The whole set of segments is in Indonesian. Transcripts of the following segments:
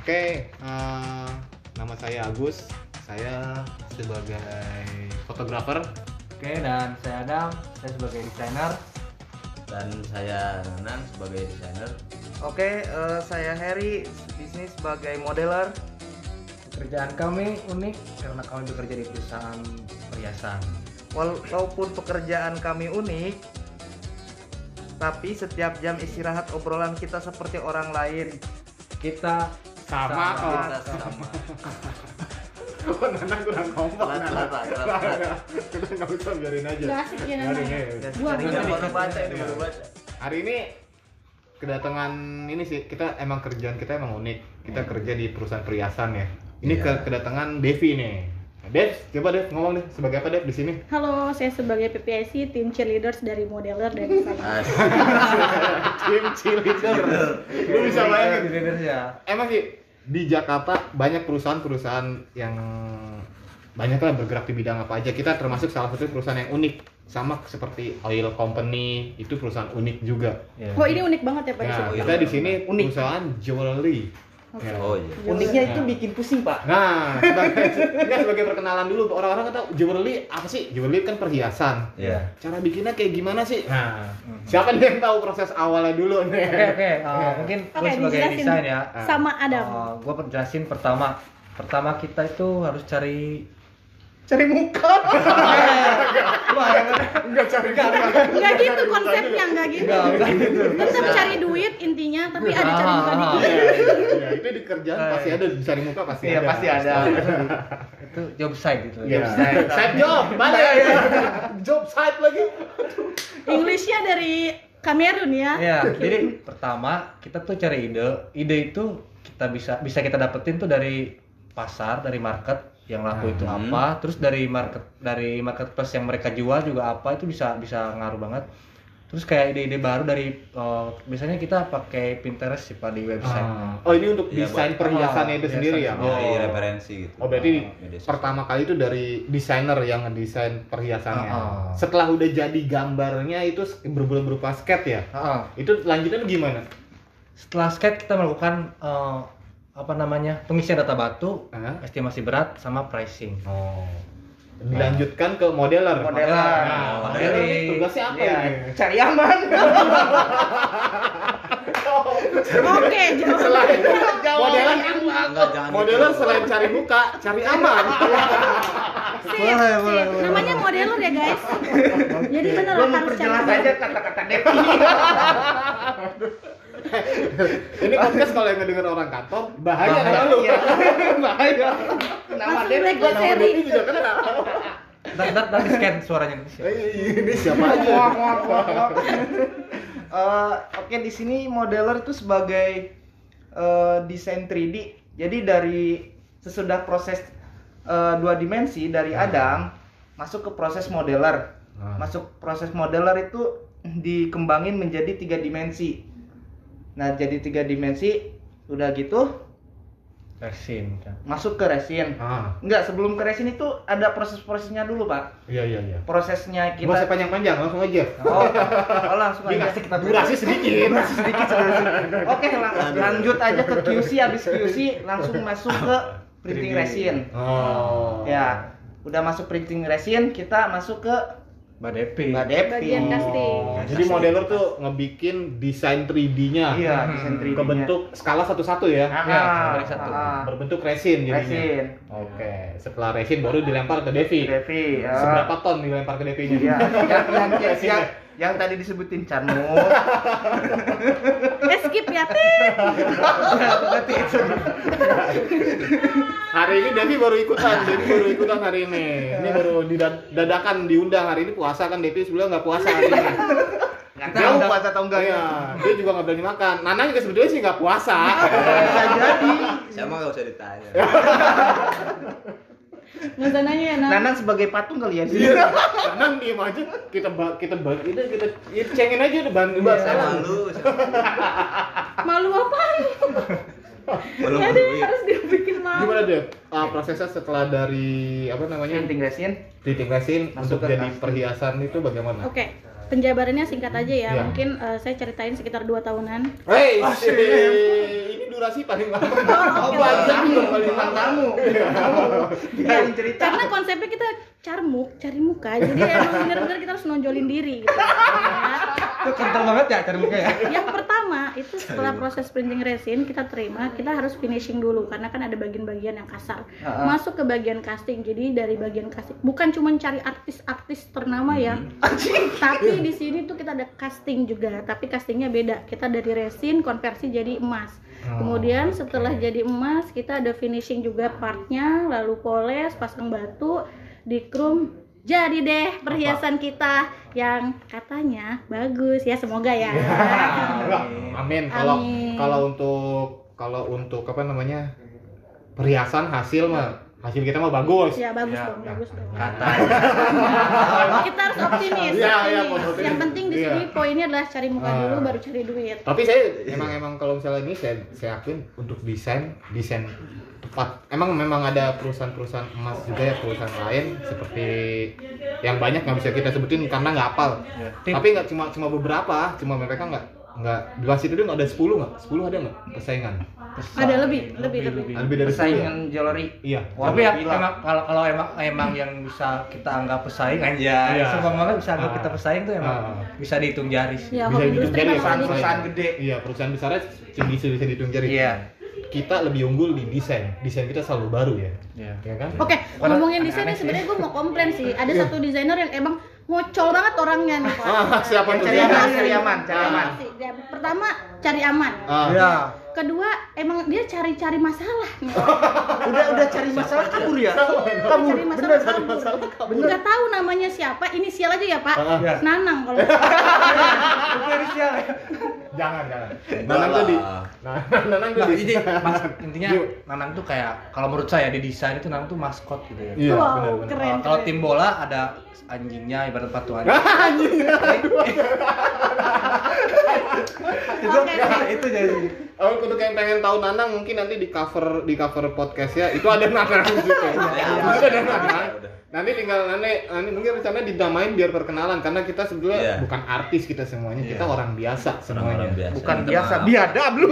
Oke, eh, nama saya Agus. Saya sebagai fotografer. Oke, dan saya Adam, saya sebagai desainer. dan saya Nanan sebagai desainer Oke, eh, saya Harry di sini sebagai modeler. Pekerjaan kami unik karena kami bekerja di perusahaan perhiasan. Walaupun pekerjaan kami unik, tapi setiap jam istirahat obrolan kita seperti orang lain. Kita Sama, Sama. kok. kita sama Kok Nana kurang kompak Telat, Nana? telat, telat, Telat, telat. ya? Kita nggak usah biarin aja. Nggak asik ya, Nana, Biarin, ya? ya. Dan Wah, cari ini Iya. baru baca ini baru baca Hari ini kedatangan ini sih kita emang kerjaan kita emang unik. Kita kerja di perusahaan perhiasan ya. Ini Hmm. Iya. ke- kedatangan Devi nih. Dev, coba Dev ngomong deh sebagai apa Dev di sini? Halo, saya sebagai PPIC tim cheerleaders dari modeler dan desainer. Ah, Asik. Tim cheerleader. Lu bisa bayangin di leader ya. emang sih di Jakarta banyak perusahaan-perusahaan yang banyak lah bergerak di bidang apa aja. Kita termasuk salah satu perusahaan yang unik, sama seperti oil company itu perusahaan unik juga. Iya. iya. iya. Oh, ini unik banget ya Pak Yusuf? Nah, oil kita di sini Unik. perusahaan jewelry. Oke. Ya. oh iya Uniknya itu bikin pusing, Pak. Nah, sebagai, ini sebagai perkenalan dulu orang-orang kata jewelry apa sih? Jewelry kan perhiasan. iya Cara bikinnya kayak gimana sih? Nah, Mm-hmm. siapa nih yang tahu proses awalnya dulu Oke, nih? oke. uh, mungkin gue Oke, sebagai dijelasin desain ya. Oh. sama Adam. gue perjelasin pertama. Pertama kita itu harus cari Iya, Cari muka. Wah, iya, Enggak cari muka. Enggak gitu konsepnya, enggak gitu. enggak, enggak gitu. Tetap cari duit intinya, tapi ada cari muka Ah. dikit. Iya, iya, iya. itu di kerjaan Eh. pasti ada dicari muka pasti Iya, ada pasti ada. itu job site gitu. Iya. side job balik job site lagi Inggrisnya dari Kamerun ya. Ya, jadi pertama kita tuh cari ide. Ide itu kita bisa bisa kita dapetin tuh dari pasar, dari market yang laku itu Hmm. apa, terus dari market dari marketplace yang mereka jual juga apa itu bisa bisa ngaruh banget. Terus kayak ide-ide baru dari eh, biasanya kita pakai Pinterest sih Pak di website. oh ini untuk Iya, desain Pak. perhiasannya itu Oh, sendiri ya perhiasan. oh, Nyari Iya, referensi gitu oh berarti Media sosial. pertama kali itu dari desainer yang ngedesain perhiasannya Oh. setelah udah jadi gambarnya itu berbulan berupa sketch ya Heeh. itu lanjutannya gimana Setelah sketch kita melakukan eh, apa namanya? pengisian data batu, Hah? estimasi berat sama pricing. oh dilanjutkan ke modeler Modeler. Ah, Nah, Nah, modeler ini dari- tugasnya apa Iya, ini cari aman. Oke, jauh. selain modeler Enggak, jangan modeler gitu. selain cari muka cari aman Sip, sip. Namanya modeler ya guys. Jadi bener Gua harus cari memperjelas muka. aja kata-kata Devi. Ini podcast kalau yang ngedenger orang kantor bahaya Bahaya. kalau lu. Iya. bahaya. Nama Langsung Devi blackboard Nama seri. Devi juga kena. Ntar ntar ntar di scan suaranya. Eh, ini siapa aja? Wah, wah, wah, wah. Eh, Oke di sini modeler itu sebagai eh, desain 3D. Jadi dari sesudah proses eh, dua dimensi dari Adam masuk ke proses modeler. Hmm. Masuk proses modeler itu dikembangin menjadi tiga dimensi. Nah jadi tiga dimensi udah gitu Resin kan. masuk ke resin. Ah, Enggak sebelum ke resin itu ada proses-prosesnya dulu pak. iya iya iya. Prosesnya Kita... usah kita panjang-panjang langsung aja. Oh, oh langsung Ini aja. ngasih kita Ah, durasi sedikit. Durasi sedikit durasi. Oke, lang- lanjut aja ke QC habis QC langsung masuk ke printing resin. Oh. Ya, udah masuk printing resin, kita masuk ke Mbak Depi. Bagian Badepin. casting. Oh, jadi modeler tuh ngebikin desain 3D-nya Iya, desain 3D. ke bentuk skala satu-satu ya. Ya, Ah, dari satu. ah, Berbentuk resin jadinya. resin. Oke, setelah resin baru dilempar ke Devi. Devi. ya. Seberapa ton dilempar ke Devinya? Iya, yang, yang, yang, yang, yang tadi disebutin Canut. Eh, skip ya. Tit. Berarti itu. Hari ini Devi baru ikutan, Devi baru ikutan hari ini. Ini baru didadakan diundang hari ini puasa kan Devi sebelumnya nggak puasa hari ini. Nggak Kita tahu udah- puasa atau enggak Iya, ya. dia juga nggak berani makan. Nana juga sebetulnya sih nggak puasa. Bisa jadi. saya mah gak usah ditanya Nggak usah nanya ya, Nan. Nanang sebagai patung kali ya. Iya, Nana diem aja. Kita ba- kita ba- kita kita ya, cengin aja udah bantu bantu. saya malu saya Malu apaan? malu Ya malu deh, harus dibikin malu. Gimana deh ah, prosesnya setelah dari apa namanya Printing resin. titik resin Masuk untuk ke jadi tas. perhiasan itu bagaimana? Oke, penjabarannya singkat aja ya. Iya. Mungkin eh, saya ceritain sekitar 2 tahunan. Hei, ini dua durasi paling lama. Oh, oke. Banyak tuh paling Bintang lama. tamu. Kamu biarin cerita. Karena konsepnya kita carmuk, cari muka. Jadi emang benar-benar kita harus nonjolin diri gitu. Ya. Itu kental banget ya cari muka ya. Yang pertama itu setelah proses printing resin kita terima, kita harus finishing dulu karena kan ada bagian-bagian yang kasar. Ah, ah. Masuk ke bagian casting. Jadi dari bagian casting bukan cuma cari artis-artis ternama ya. Tapi di sini tuh kita ada casting juga, tapi castingnya beda. Kita dari resin konversi jadi emas. Kemudian setelah jadi emas kita ada finishing juga partnya, lalu poles, pasang batu, dikrum. Jadi deh perhiasan kita yang katanya bagus ya semoga ya. Wah, Amin. Kalau Amin. kalau untuk kalau untuk apa namanya perhiasan hasil mah hasil kita mah bagus. ya bagus Ya, dong, bagus dong. Kata Kita harus optimis. Iya, iya, optimis. optimis. yang penting di Iya. sini poinnya adalah cari muka Ah. dulu baru cari duit. Tapi saya emang emang kalau misalnya ini saya saya akuin untuk desain desain tepat. Emang memang ada perusahaan-perusahaan emas juga ya perusahaan lain seperti yang banyak nggak bisa kita sebutin karena nggak hafal. Tim. Tapi nggak cuma cuma beberapa, cuma mereka nggak nggak di wasit itu nggak ada 10 nggak? 10 ada nggak persaingan? Ada lebih, lebih, lebih. Lebih dari 10 ya? Persaingan jolori. Iya. Wah, tapi ya, gila. emang kalau kalau emang emang yang bisa kita anggap pesaing aja, Iya. semua banget bisa anggap Ah. kita pesaing tuh emang Ah. bisa dihitung jari sih. Ya, Bisa hobi dihitung industri jari kalau perusahaan- tadi- perusahaan gede. Iya, perusahaan besarnya bisa bisa dihitung jari. Iya. Kita lebih unggul di desain. Desain kita selalu baru ya. Iya. Ya kan? Oke, Karena ngomongin aneh-aneh desain nih sih. sebenarnya gue mau komplain sih. Ada satu desainer yang emang ngocol banget orangnya nih. Pak. Ah, siapa tuh? Cari aman, cari aman, cari aman. Ya, Pertama, cari aman. Ah, Iya. Kedua, emang dia cari-cari masalah. nih. Udah udah cari masalah kabur ya. Kabur. cari masalah, Bener. kabur. Nggak tahu namanya siapa, inisial aja ya, Pak. Ah, iya. Nanang kalau Jangan, jangan. Enggak Nanang tuh lah. di Nah, Nanang tuh Nah, di ini, mas, intinya Yuk. Nanang tuh kayak kalau menurut saya di desain itu Nanang tuh maskot gitu ya. Iya, Wow, benar benar. Keren, Kalau- Kalau keren. tim bola ada anjingnya ibarat patungan. Anjing. itu Oke. itu jadi. Oh, untuk yang pengen tahu Nanang mungkin nanti di cover di cover podcastnya itu ada Nanang juga. Itu ada Nanang. udah. Nanti tinggal nanti, nanti mungkin rencana dinamain biar perkenalan karena kita sebetulnya Iya. bukan artis kita semuanya, kita Iya. orang biasa semuanya. Orang-orang biasa. Bukan minta biasa, maaf. biadab lu.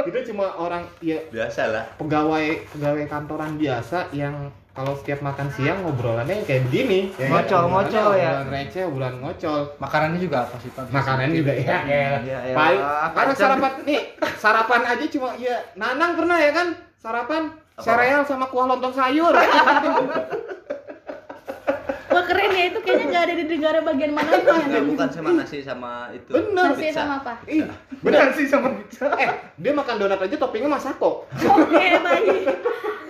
Kita cuma orang ya Biasa lah. pegawai pegawai kantoran biasa yang kalau setiap makan siang ngobrolannya kayak begini ya kan? Ngocol, Obrolannya ngocol ya. obrolan receh obrolan ngocol Makanannya juga apa sih Pak? makanan juga ya Ya, ya ya. paling karena Kacang. sarapan nih sarapan aja cuma ya nanang pernah ya kan sarapan Apa? sereal sama kuah lontong sayur Wah keren ya, itu kayaknya nggak ada di negara bagian mana itu ya. Enggak bukan sama nasi sama itu. Bener. Nasi sama apa? Ih, Bener sih sama pizza. eh dia makan donat aja toppingnya masako Oke, baik.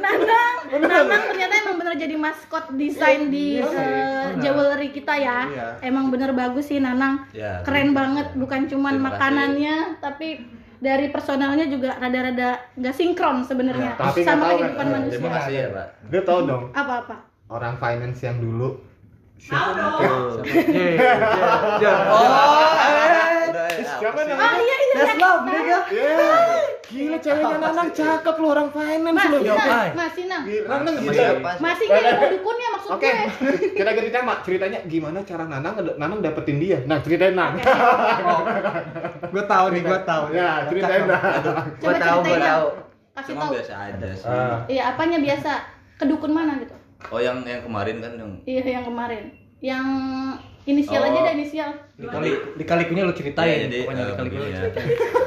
Nanang, Nanang ternyata emang bener jadi maskot desain di Iya sih, eh, bener. jewelry kita ya. Iya. Emang bener bagus sih Nanang. Ya. Keren banget, bukan cuman Terima kasih. makanannya, tapi dari personalnya juga rada-rada nggak sinkron Ya, sebenarnya tapi nggak sama tahu kan. kehidupan Ya, manusia. Terima kasih ya, Pak. dia tau dong Apa-apa? orang finance yang dulu Tuh. Oh, Udah, ya, siapa apa sih? Oh namanya iya iya. that's iya. love, nigga. ya gila ceweknya nanang cakep lu orang finance Mas, lu Sinang, Pak. Mas Sinang. Gila, nanang Sama gila siapa sih? Masih nggak ada dukunnya maksud Iya. Oke, gue. kita ganti tema. Ceritanya gimana cara Nanang Nanang dapetin dia? Nah, ceritain Nang. Gue tahu nih, gue tahu. Ya, ceritain Nang. Coba Gua tahu, gua ceritain tahu. Nang. Kasih Cuma tahu. biasa aja sih. Ah. Iya, apanya biasa? Kedukun mana gitu? Oh, yang yang kemarin kan yang Iya, yang kemarin. Yang inisial Oh. aja dah inisial. Dikali dikalikunya lu Iya, ceritain, jadi pokoknya eh, dikalikunya. begini ya.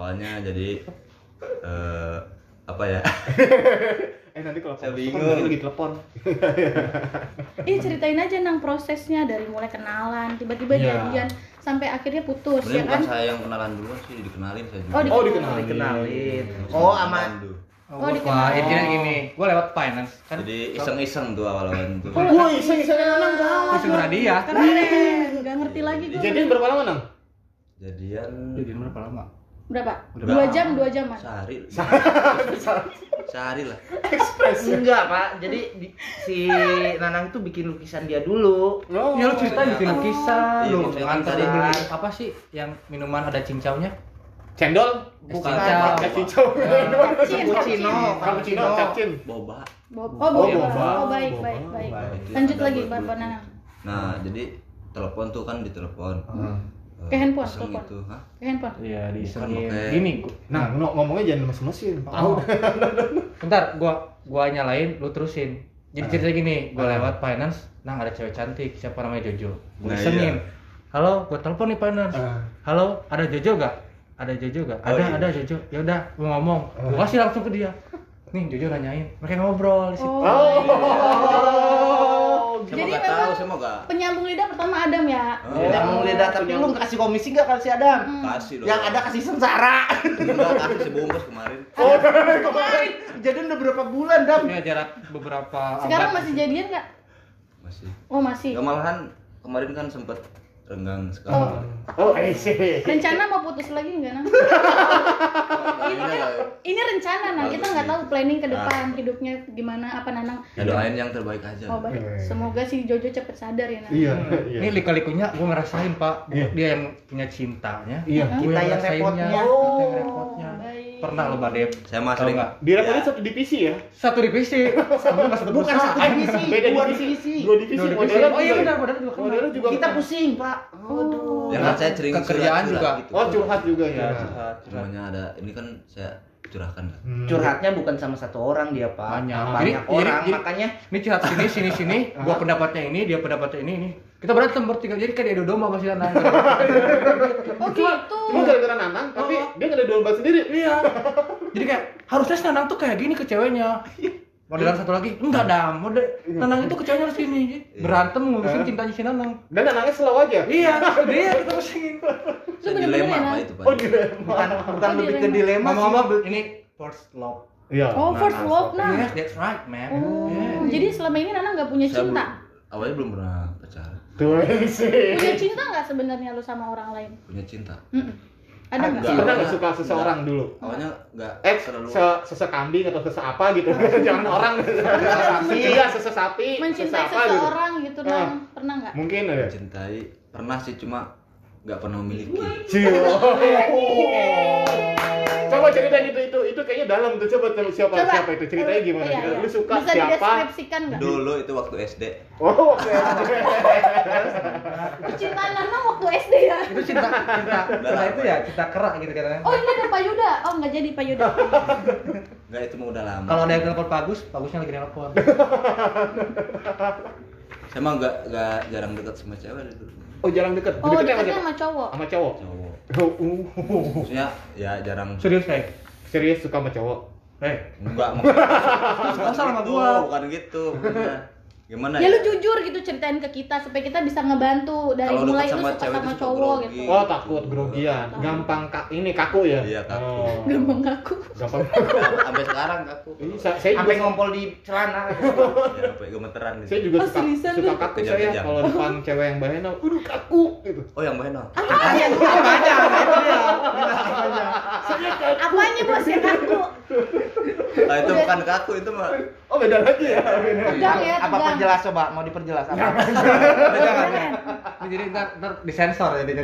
Awalnya jadi eh apa ya? Eh nanti kalau Saya podcast bingung. kan lagi telepon. Ih, ceritain aja nang prosesnya dari mulai kenalan, tiba-tiba Iya. jadian sampai akhirnya putus Sebenarnya ya bukan kan? saya yang kenalan duluan sih, dikenalin saya juga. Oh, di- Oh, dikenalin. Dikenalin. Oh, aman sama Oh, Oh, gua dikenal. intinya gini, gue lewat finance kan. Jadi iseng-iseng tuh awal-awal tuh. Woi, iseng iseng Nanang Gua kan? gawat. iseng hadiah. Keren, nggak ngerti lagi gue. Jadian berapa lama Nang? Jadian Jadi berapa lama? Berapa? Udah. Dua jam, dua jaman. sehari. Sehari lah. Enggak, Pak. Jadi di- si Nanang tuh bikin lukisan dia dulu. Oh. Ya lu cerita bikin lukisan, Iya, lu maksudnya kan nganter tadi- beli apa sih yang minuman ada cincaunya? Cendol, Bukan. cincau. es cincau, Capcin, capcin. Cappuccino, cappuccino, capcin. Boba. Bob- Oh, boba. boba. Oh, baik, Boba, baik, baik. baik. Lanjut Ada lagi, buat Bapak dulu. Nanang. Nah, jadi telepon tuh kan ditelepon. Oh. Ke handphone, iseng telepon. itu Hah? Ke handphone. Iya, Bukan, diisengin. pakai- Gini, gua, Nah, no- ngomongnya jangan mesin-mesin. Tahu. Oh. Bentar, gua gua nyalain, lu terusin. Jadi Ah. cerita gini, gua Ah. lewat finance, nah ada cewek cantik, siapa namanya Jojo. Gua Nah, isengin. iya. Halo, gua telepon nih finance. Ah. Halo, ada Jojo gak? Ada Jojo gak? Oh, Ada, iya. ada Jojo. Ya udah, gua ngomong. Gua kasih langsung ke dia. Nih, Jojo nanyain. Mereka ngobrol di situ. Oh. Saya Jadi mau Oh. nggak memang- tahu, saya mau nggak. Penyambung lidah pertama Adam ya. Oh, Iya. Tidak mau lidah, tapi lu kasih komisi nggak kalau si Adam? Eh, Kasih dong. Yang ada kasih sengsara. Enggak, kasih sebungkus kemarin. Kemarin jadian udah berapa bulan, Dam? Ini jarak beberapa Hmm. Sekarang abad. masih jadian nggak? Masih. Oh masih. Ya malahan kemarin kan sempet renggang sekali. Oh, eh, sih. Rencana mau putus lagi nggak nang? Ini nggak- Ini rencana nang. Kita nggak tahu planning ke Ah. depan hidupnya gimana apa nanang. Ya doain yang terbaik aja. Oh, baik. Iya. Semoga si Jojo cepet sadar ya nang. Iya, Ini iya. likalikunya gua ngerasain, Pak. Gua- Iya. Dia yang punya cintanya. Iya. gua Kita yang ngerasainnya. repotnya. Oh, Kita yang repotnya. Baik. Pernah lo, Mbak Dep. Saya mah Tahu sering. nggak? Direkodnya Ya. satu divisi ya? Satu divisi. Sama nggak satu Bukan perusahaan. satu divisi, Beda dua divisi. divisi. Dua divisi, Dua divisi. modelan Oh iya juga ya? benar, benar juga. kena. Modelan juga. Kita kena. pusing, Pak. Oh. Waduh. Ya kan saya sering Kekerjaan curhat-curhat juga. gitu. Oh, curhat juga Iya, ya. curhat, curhat. Semuanya ada. Ini kan saya curahkan lah. Hmm. Curhatnya bukan sama satu orang dia, Pak. Banyak. Banyak Jadi- orang, jadi- makanya Ini curhat sini, sini, sini. Gua pendapatnya ini, dia pendapatnya ini, ini. Kita berantem bertiga. Jadi kayak di domba masih anak. Oh gitu. Cuma gara-gara Nanang, tapi Oh. dia nggak ada domba sendiri. Iya. Jadi kayak harusnya si Nanang tuh kayak gini ke ceweknya. Modelan satu lagi, enggak dam, model Nanang itu ke ceweknya harus gini. Berantem ngurusin cintanya si Nanang. Dan Nanangnya slow aja. Iya, itu dia kita pusingin. Itu Saya bener-bener dilema ya, apa Nang? itu, Pak? Oh, dilema. bukan bukan Oh, lebih ke dilema. dilema sih. Mama-mama ini first love. Iya. Oh first Nanang love slow. nang. Yes, that's right, man. Oh, Iya. Yeah. jadi selama ini Nana nggak punya Saya cinta? belum- awalnya belum pernah pacaran. Tuh, sih. Punya cinta nggak sebenarnya lu sama orang lain? Punya cinta. Mm-mm. Ada nggak? Enggak. Pernah nggak suka Iya. seseorang dulu? Awalnya enggak Eh, terlalu se sesekambing atau sesapa gitu. Jangan orang. Iya, sesesapi, Iya, Mencintai sesapa gitu. seseorang gitu, Ah. Nang? Pernah nggak? Mungkin ya. mencintai. Pernah sih cuma enggak pernah memiliki. Cio. Coba ceritain itu itu itu kayaknya dalam tuh coba tuh siapa siapa itu ceritanya gimana? Iya, iya. Lu suka Bisa siapa? dideskripsikan nggak? Dulu itu waktu SD. Oh, oke. Kecintaan Nana waktu SD ya? Itu cinta, cinta, cinta itu ya cinta kerak gitu katanya. Oh ini ada Pak Yuda. Oh nggak jadi Pak Yuda. Enggak itu mah udah lama. Kalau ada yang telepon Bagus, Bagusnya lagi telepon. Saya mah enggak enggak jarang dekat sama cewek dari dulu. Oh, jarang deket. Oh Deketnya dekatnya siapa? sama cowok. Sama cowok. Cowok. Oh, uh. Maksudnya ya jarang Serius kayak, Serius suka sama cowok. eh, enggak maksudnya nggak salah sama gitu, gua. bukan gitu. maksudnya. Gimana Ya lu jujur gitu ceritain ke kita supaya kita bisa ngebantu dari Kalau mulai lu dekat sama suka cewek sama itu suka cowok grogi. gitu. Oh, takut grogian. Gampang kak ini kaku ya? Iya, kaku. Oh. Gampang ngaku. Gampang. sampai sekarang aku. Ini sa- saya sampai iya. juga, ngompol di celana. Ya sampai gemeteran gitu. saya juga Oh, suka seriusan suka lu? kaku Kejang-kejang. saya kalau depan cewek yang bahena, aduh kaku gitu. Oh, yang Mbak Henol. Sama aja, itu dia. Apanya bos Ya, kan yang aku? Ah, itu Udah. bukan ke aku, itu mah. Oh, beda lagi ya. Iya, Beda. Tegang ya Apa tegang. perjelas coba? Mau diperjelas apa? Udah, jangan. Ini jadi ntar ntar disensor ya jadi.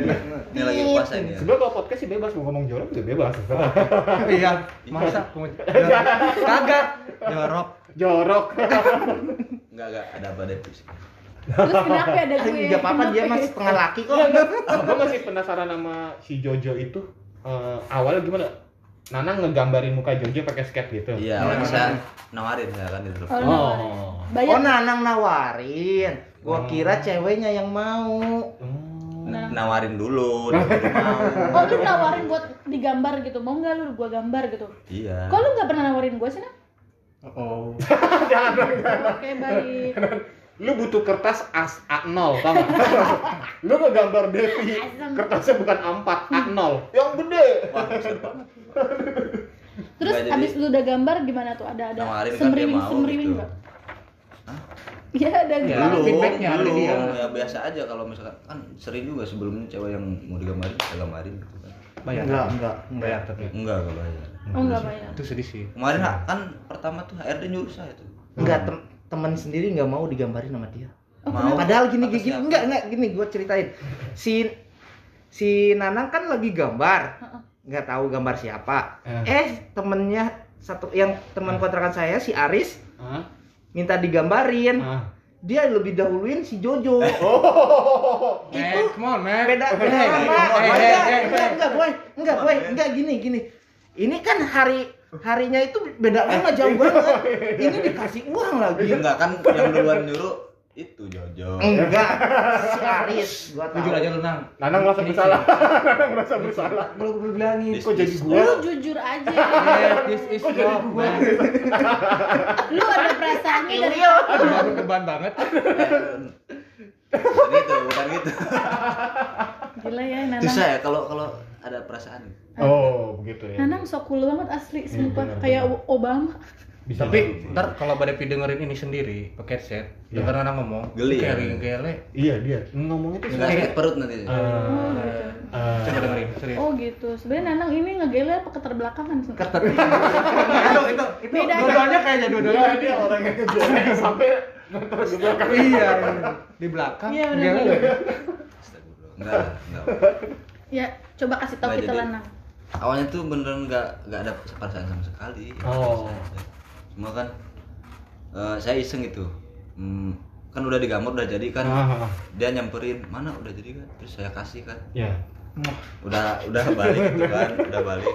Ini lagi puasa ini ya. Sebenarnya kalau podcast sih bebas mau ngomong jorok juga bebas. Oh. Iya, masa kagak jorok. jorok. Enggak, enggak Iya, ada apa deh. Terus kenapa ya ada gue? Enggak apa-apa dia Kenapa mas ya? setengah laki Iya, kok. Iya, Gue masih penasaran sama si Jojo itu eh, awalnya gimana? Nanang ngegambarin muka Jojo pakai skate gitu. Iya, awalnya saya nawarin saya kan di telepon. Oh. Bayar. Oh Nanang nawarin. Gua Oh. kira ceweknya yang mau. Hmm. Nah. Nawarin dulu, dia baru Oh mau. lu nawarin buat digambar gitu, mau nggak lu gua gambar gitu? Iya. Kok lu nggak pernah nawarin gua sih Nang? Oh. Oke baik. Lu butuh kertas as A0, tau gak? Lu ngegambar Devi, kertasnya bukan A4, A0 Yang gede Wah, besar banget. Terus Nggak, jadi- abis lu udah gambar gimana tuh? Ada ada Nawarin kan dia semriwing mau semriwing gitu. nggak? Ya ada Ya, gimana? lu. feedbacknya ada belum, dia. ya biasa aja kalau misalkan kan sering juga sebelumnya cewek yang mau digambarin saya gambarin gitu kan Bayar. Enggak, enggak, enggak. Bayar tapi. enggak enggak bayar Oh nggak bayar. Itu sedih sih. kemarin kan pertama tuh HRD nyuruh saya tuh Enggak tem teman sendiri nggak mau digambarin sama dia. Oh, Mau. kenapa? Padahal gini Apa gini siapa? enggak enggak gini gua ceritain. Si si Nanang kan lagi gambar. Heeh. Nggak tahu gambar siapa. Eh. Eh, temennya satu yang teman kontrakan saya si Aris Hah? minta digambarin. Hah? dia lebih dahuluin si Jojo. Oh. Itu Eh, come on, man. beda Eh, beda eh, eh, lama. eh, Enggak, eh, ya. enggak, eh. enggak, boy. Enggak, boy. Enggak gini, gini. Ini kan hari harinya itu beda lama Eh. jauh banget. Ini dikasih uang lagi. Enggak kan yang duluan nyuruh itu Jojo. Enggak. Si Aris, gua tahu. Jujur aja lu, Nang. Nana ngerasa Ini bersalah. Nana ngerasa bersalah. Belum gue bilangin. This Kok jadi is- gua? Lu jujur aja. Iya. Eh, This is Kok jadi love, gua? man. Lu ada perasaannya Iya. dari Ilio. Aduh, aku beban banget. Bukan gitu, bukan gitu. Gila ya Susah Nanang. ya kalau kalau ada perasaan. Oh, begitu ya. Nanang sok cool banget asli Iya, sumpah benar, kayak benar. Obama. Bisa Tapi ntar kalau Badepi dengerin ini sendiri pakai headset, Iya. denger anak ngomong, Geli kayak ya? ring gele. Iya, dia ngomongnya tuh Enggak sakit perut nanti. Oh Iya. Eh, gitu. eh, Coba dengerin, serius. Oh gitu. Sebenarnya Nanang ini ngegele apa keterbelakangan? sih? Itu itu itu Beda aja. dua-duanya kayaknya dua-duanya. Iya, dia orang yang ngegoreng sampai terus ke belakang. Iya, di belakang. Iya, benar, gele. benar. Enggak, enggak. Ya, coba kasih tahu Nah, kita jadi- Nanang. Awalnya tuh beneran enggak enggak ada perasaan sama sekali. Oh. Cuma kan eh, saya iseng gitu. Hmm, kan udah digambar udah jadi kan. Ah, Dia nyamperin, "Mana udah jadi kan?" Terus saya kasih kan. ya. Udah udah balik gitu kan, udah balik.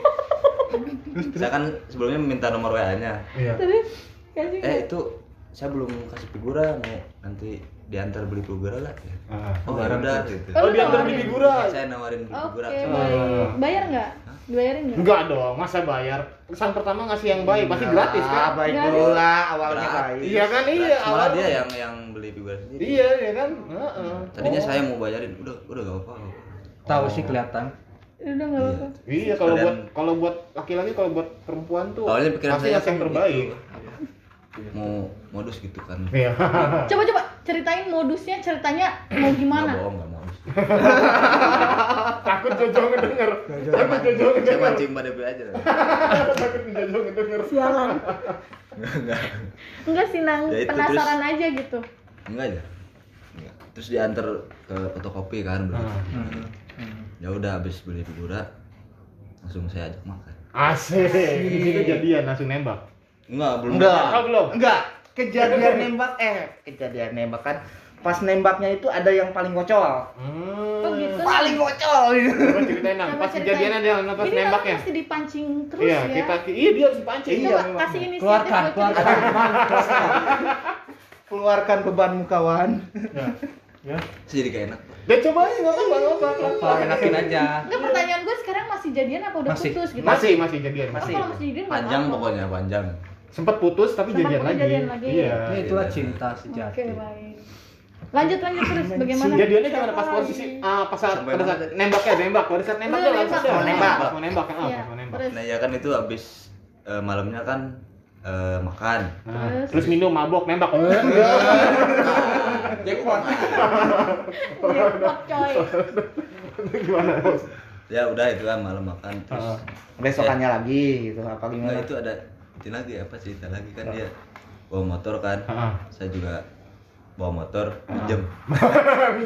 Saya kan sebelumnya minta nomor WA-nya. Iya. Terus kasih nggak? Eh itu saya belum kasih figura mau nanti diantar beli figura lah. Ah. Oh, Barang udah tuh. gitu. Oh, Oh, lu dia nawarin? beli figura. Saya nawarin beli Oke, figura. Ah. baik. Bayar nggak? Bayarin nggak? Enggak dong, masa bayar? Kesan pertama ngasih yang baik, pasti gratis Ah, kan? baik Gratis. dulu lah awalnya Gratis. baik. Iya kan? Iya, Gratis. Malah awalnya. dia yang yang beli figura sendiri. Iya, Oh. iya kan? Heeh. Tadinya saya mau bayarin, udah udah gak apa-apa. nggak apa-apa. Tahu sih kelihatan. Udah nggak apa-apa. Iya, kalau Sekalian- buat kalau buat laki-laki kalau buat perempuan tuh Awalnya pikiran pasti saya ngasih yang kan terbaik. gitu, apa, mau modus gitu kan. Iya. Coba coba ceritain modusnya, ceritanya mau Nggak gimana? bohong, nggak modus. Takut Jojo ngedenger. Saya Takut man- Jojo Saya ngedenger. mancing pada dia aja. Takut Jojo ngedenger. Sialan. Enggak. Enggak sih Nang, Ya itu, penasaran aja gitu. Enggak aja. Enggak. Terus diantar ke fotokopi kan bro. Ah. Hmm. Hmm. Ya udah habis beli figura langsung saya ajak makan. Asik. Di sini kejadian langsung nembak. Enggak, belum. Enggak. Ah, belum. Enggak. Kejadian nembak eh kejadian nembak kan pas nembaknya itu ada yang paling ngocol. Hmm. Oh gitu. Nang. Paling ngocol. Coba ceritain nang, Coba pas ceritain. kejadiannya dia nafas Jadi Nang nembaknya. mesti dipancing terus Iya, ya. kita iya dia harus dipancing. Coba Iya, memang. kasih inisiatif Keluarkan, buat keluarkan. cerita. Keluarkan bebanmu kawan. Ya. Ya. Saya jadi gak enak. Pak. Dan coba aja enggak apa-apa, enggak Apa apa-apa. enakin aja. Enggak pertanyaan gue sekarang masih jadian apa udah Masih. putus gitu? Masih masih jadian. Oh, Masih. kalau masih jadian nggak Panjang apa-apa. pokoknya, panjang. Sempet putus tapi Sempat jadian putus, lagi. jadian lagi. Iya. Ya itulah cinta sejati. Oke, baik. Lanjut lanjut terus bagaimana? Jadiannya gimana kan pas posisi ah pas saat Sampai pada saat nembaknya nembak, pada saat nembaknya Udah, langsung Oh, nembak. udah. Mau nembak. Pas mau nembak kan, ah, Iya, pas mau nembak. terus. Nah ya kan itu habis eh, malamnya kan eh, makan. Nah, Terus? terus minum mabok nembak. Jackpot. Jackpot coy. Gimana? Bos? Ya udah itu kan malam makan Ah. terus. Besokannya Eh. lagi gitu apa Enggak Nah, gimana? itu ada itu lagi apa cerita lagi kan dia bawa motor kan. Ah. Saya juga bawa motor pinjem.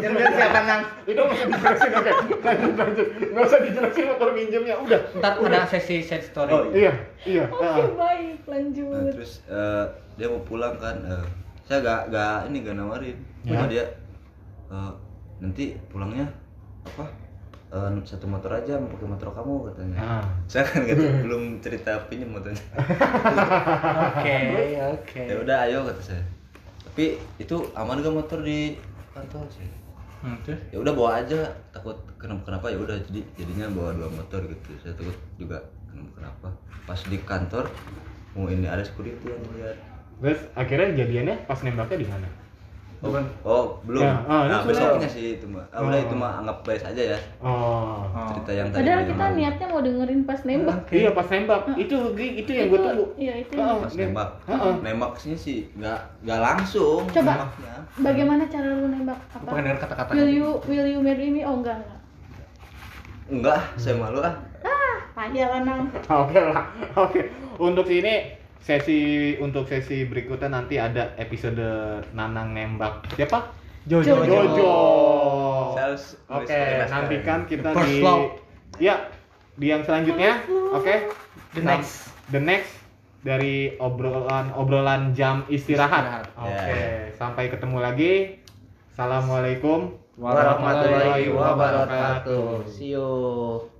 Jangan siapa nang? Itu nggak usah dijelasin, oke. Lanjut, lanjut. Nggak usah dijelasin motor minjemnya, udah. Ntar ada sesi sad story. Oh, Iya, iya. Oke, baik. Lanjut. Nah, terus eh, dia mau pulang kan. eh, saya gak gak ini gak nawarin. Cuma Ya. dia eh, nanti pulangnya apa? eh, satu motor aja mau pakai motor kamu katanya. Ah. Saya kan nggak tahu, belum cerita pinjem motornya. Oke, oke. ya udah ayo kata saya tapi itu aman gak motor di kantor sih Hmm, terus? ya udah bawa aja takut kenapa kenapa ya udah jadi jadinya bawa dua motor gitu saya takut juga kenapa kenapa pas di kantor mau ini ada security yang ngeliat Terus akhirnya jadiannya pas nembaknya di mana? oh, oh belum Ya, ah, nah, langsung besoknya sih itu mah ah, udah Oh. itu mah anggap baik aja ya Oh. Oh. cerita yang tadi Padahal malam. kita niatnya mau dengerin pas nembak. Iya pas nembak. Itu itu yang gue Ah. Itu- tunggu. Iya, itu. Oh. pas nembak Heeh. nembak sih sih nggak nggak langsung Coba. nembaknya. Bagaimana cara lu nembak? Aku pengen Apa? dengar kata-kata. Will you will you marry me? Oh, enggak, enggak. enggak saya malu ah Payah lah, Nang. Oke lah. Oke. Untuk ini sesi untuk sesi berikutnya nanti ada episode Nanang nembak. Siapa? Jojo. Jojo. Jojo. Saya harus Oke, nulis nantikan kita The first di vlog. ya di yang selanjutnya. Oke. The next. The next dari obrolan obrolan jam istirahat. Istirahat. Oke, sampai ketemu lagi. Assalamualaikum. Warahmatullahi wabarakatuh. See you.